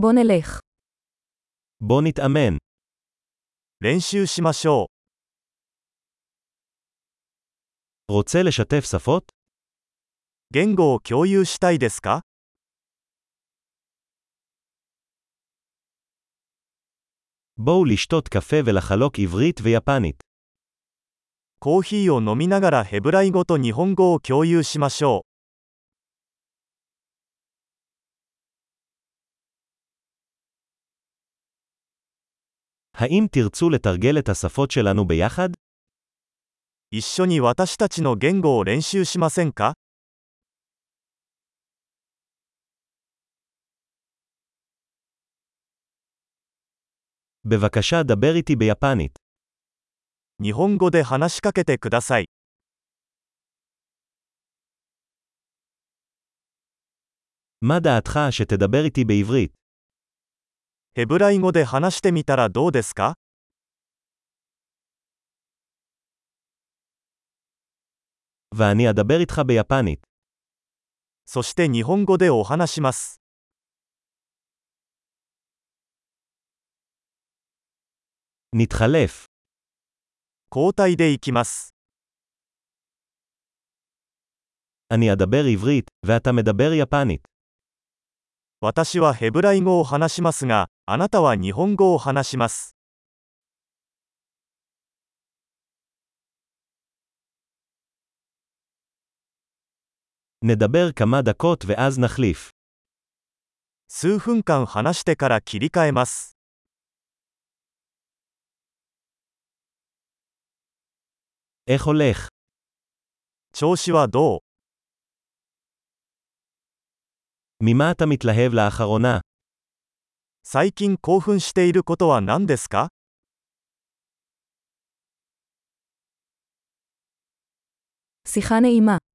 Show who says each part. Speaker 1: בוא נלך.
Speaker 2: בוא נתאמן.
Speaker 3: 練習しましょ
Speaker 2: רוצה לשתף שפות?
Speaker 3: う。言語を共有したいですか
Speaker 2: בואו לשתות קפה ולחלוק עברית ויפנית.
Speaker 3: コーヒーを飲みながらヘブライ語と日本語を共有しましょ
Speaker 2: האם תרצו לתרגל את השפות שלנו ביחד?
Speaker 3: う。一緒に私たちの言語を練習しませんか
Speaker 2: בבקשה דבר איתי ביפנית.
Speaker 3: 日本語で話しかけてください。
Speaker 2: מה דעתך שתדבר איתי בעברית?
Speaker 3: ヘブライ語で話してみたらどうですか
Speaker 2: ואני אדבר איתך ביפנית.
Speaker 3: そして日本語でお話します。
Speaker 2: נתחלף.
Speaker 3: 交代でいきます。
Speaker 2: אני אדבר עברית, ואתה מדבר יפנית.
Speaker 3: 私はヘブライ語を話しますが、あなたは日本語を話します。
Speaker 2: נדבר כמה דקות ואז נחליף.
Speaker 3: 数分間話してから切り替えます。
Speaker 2: איך הולך?
Speaker 3: 調子はどう
Speaker 2: ממה אתה מתלהב לאחרונה?
Speaker 3: 最近興奮していることは何ですか
Speaker 1: שיחה נעימה.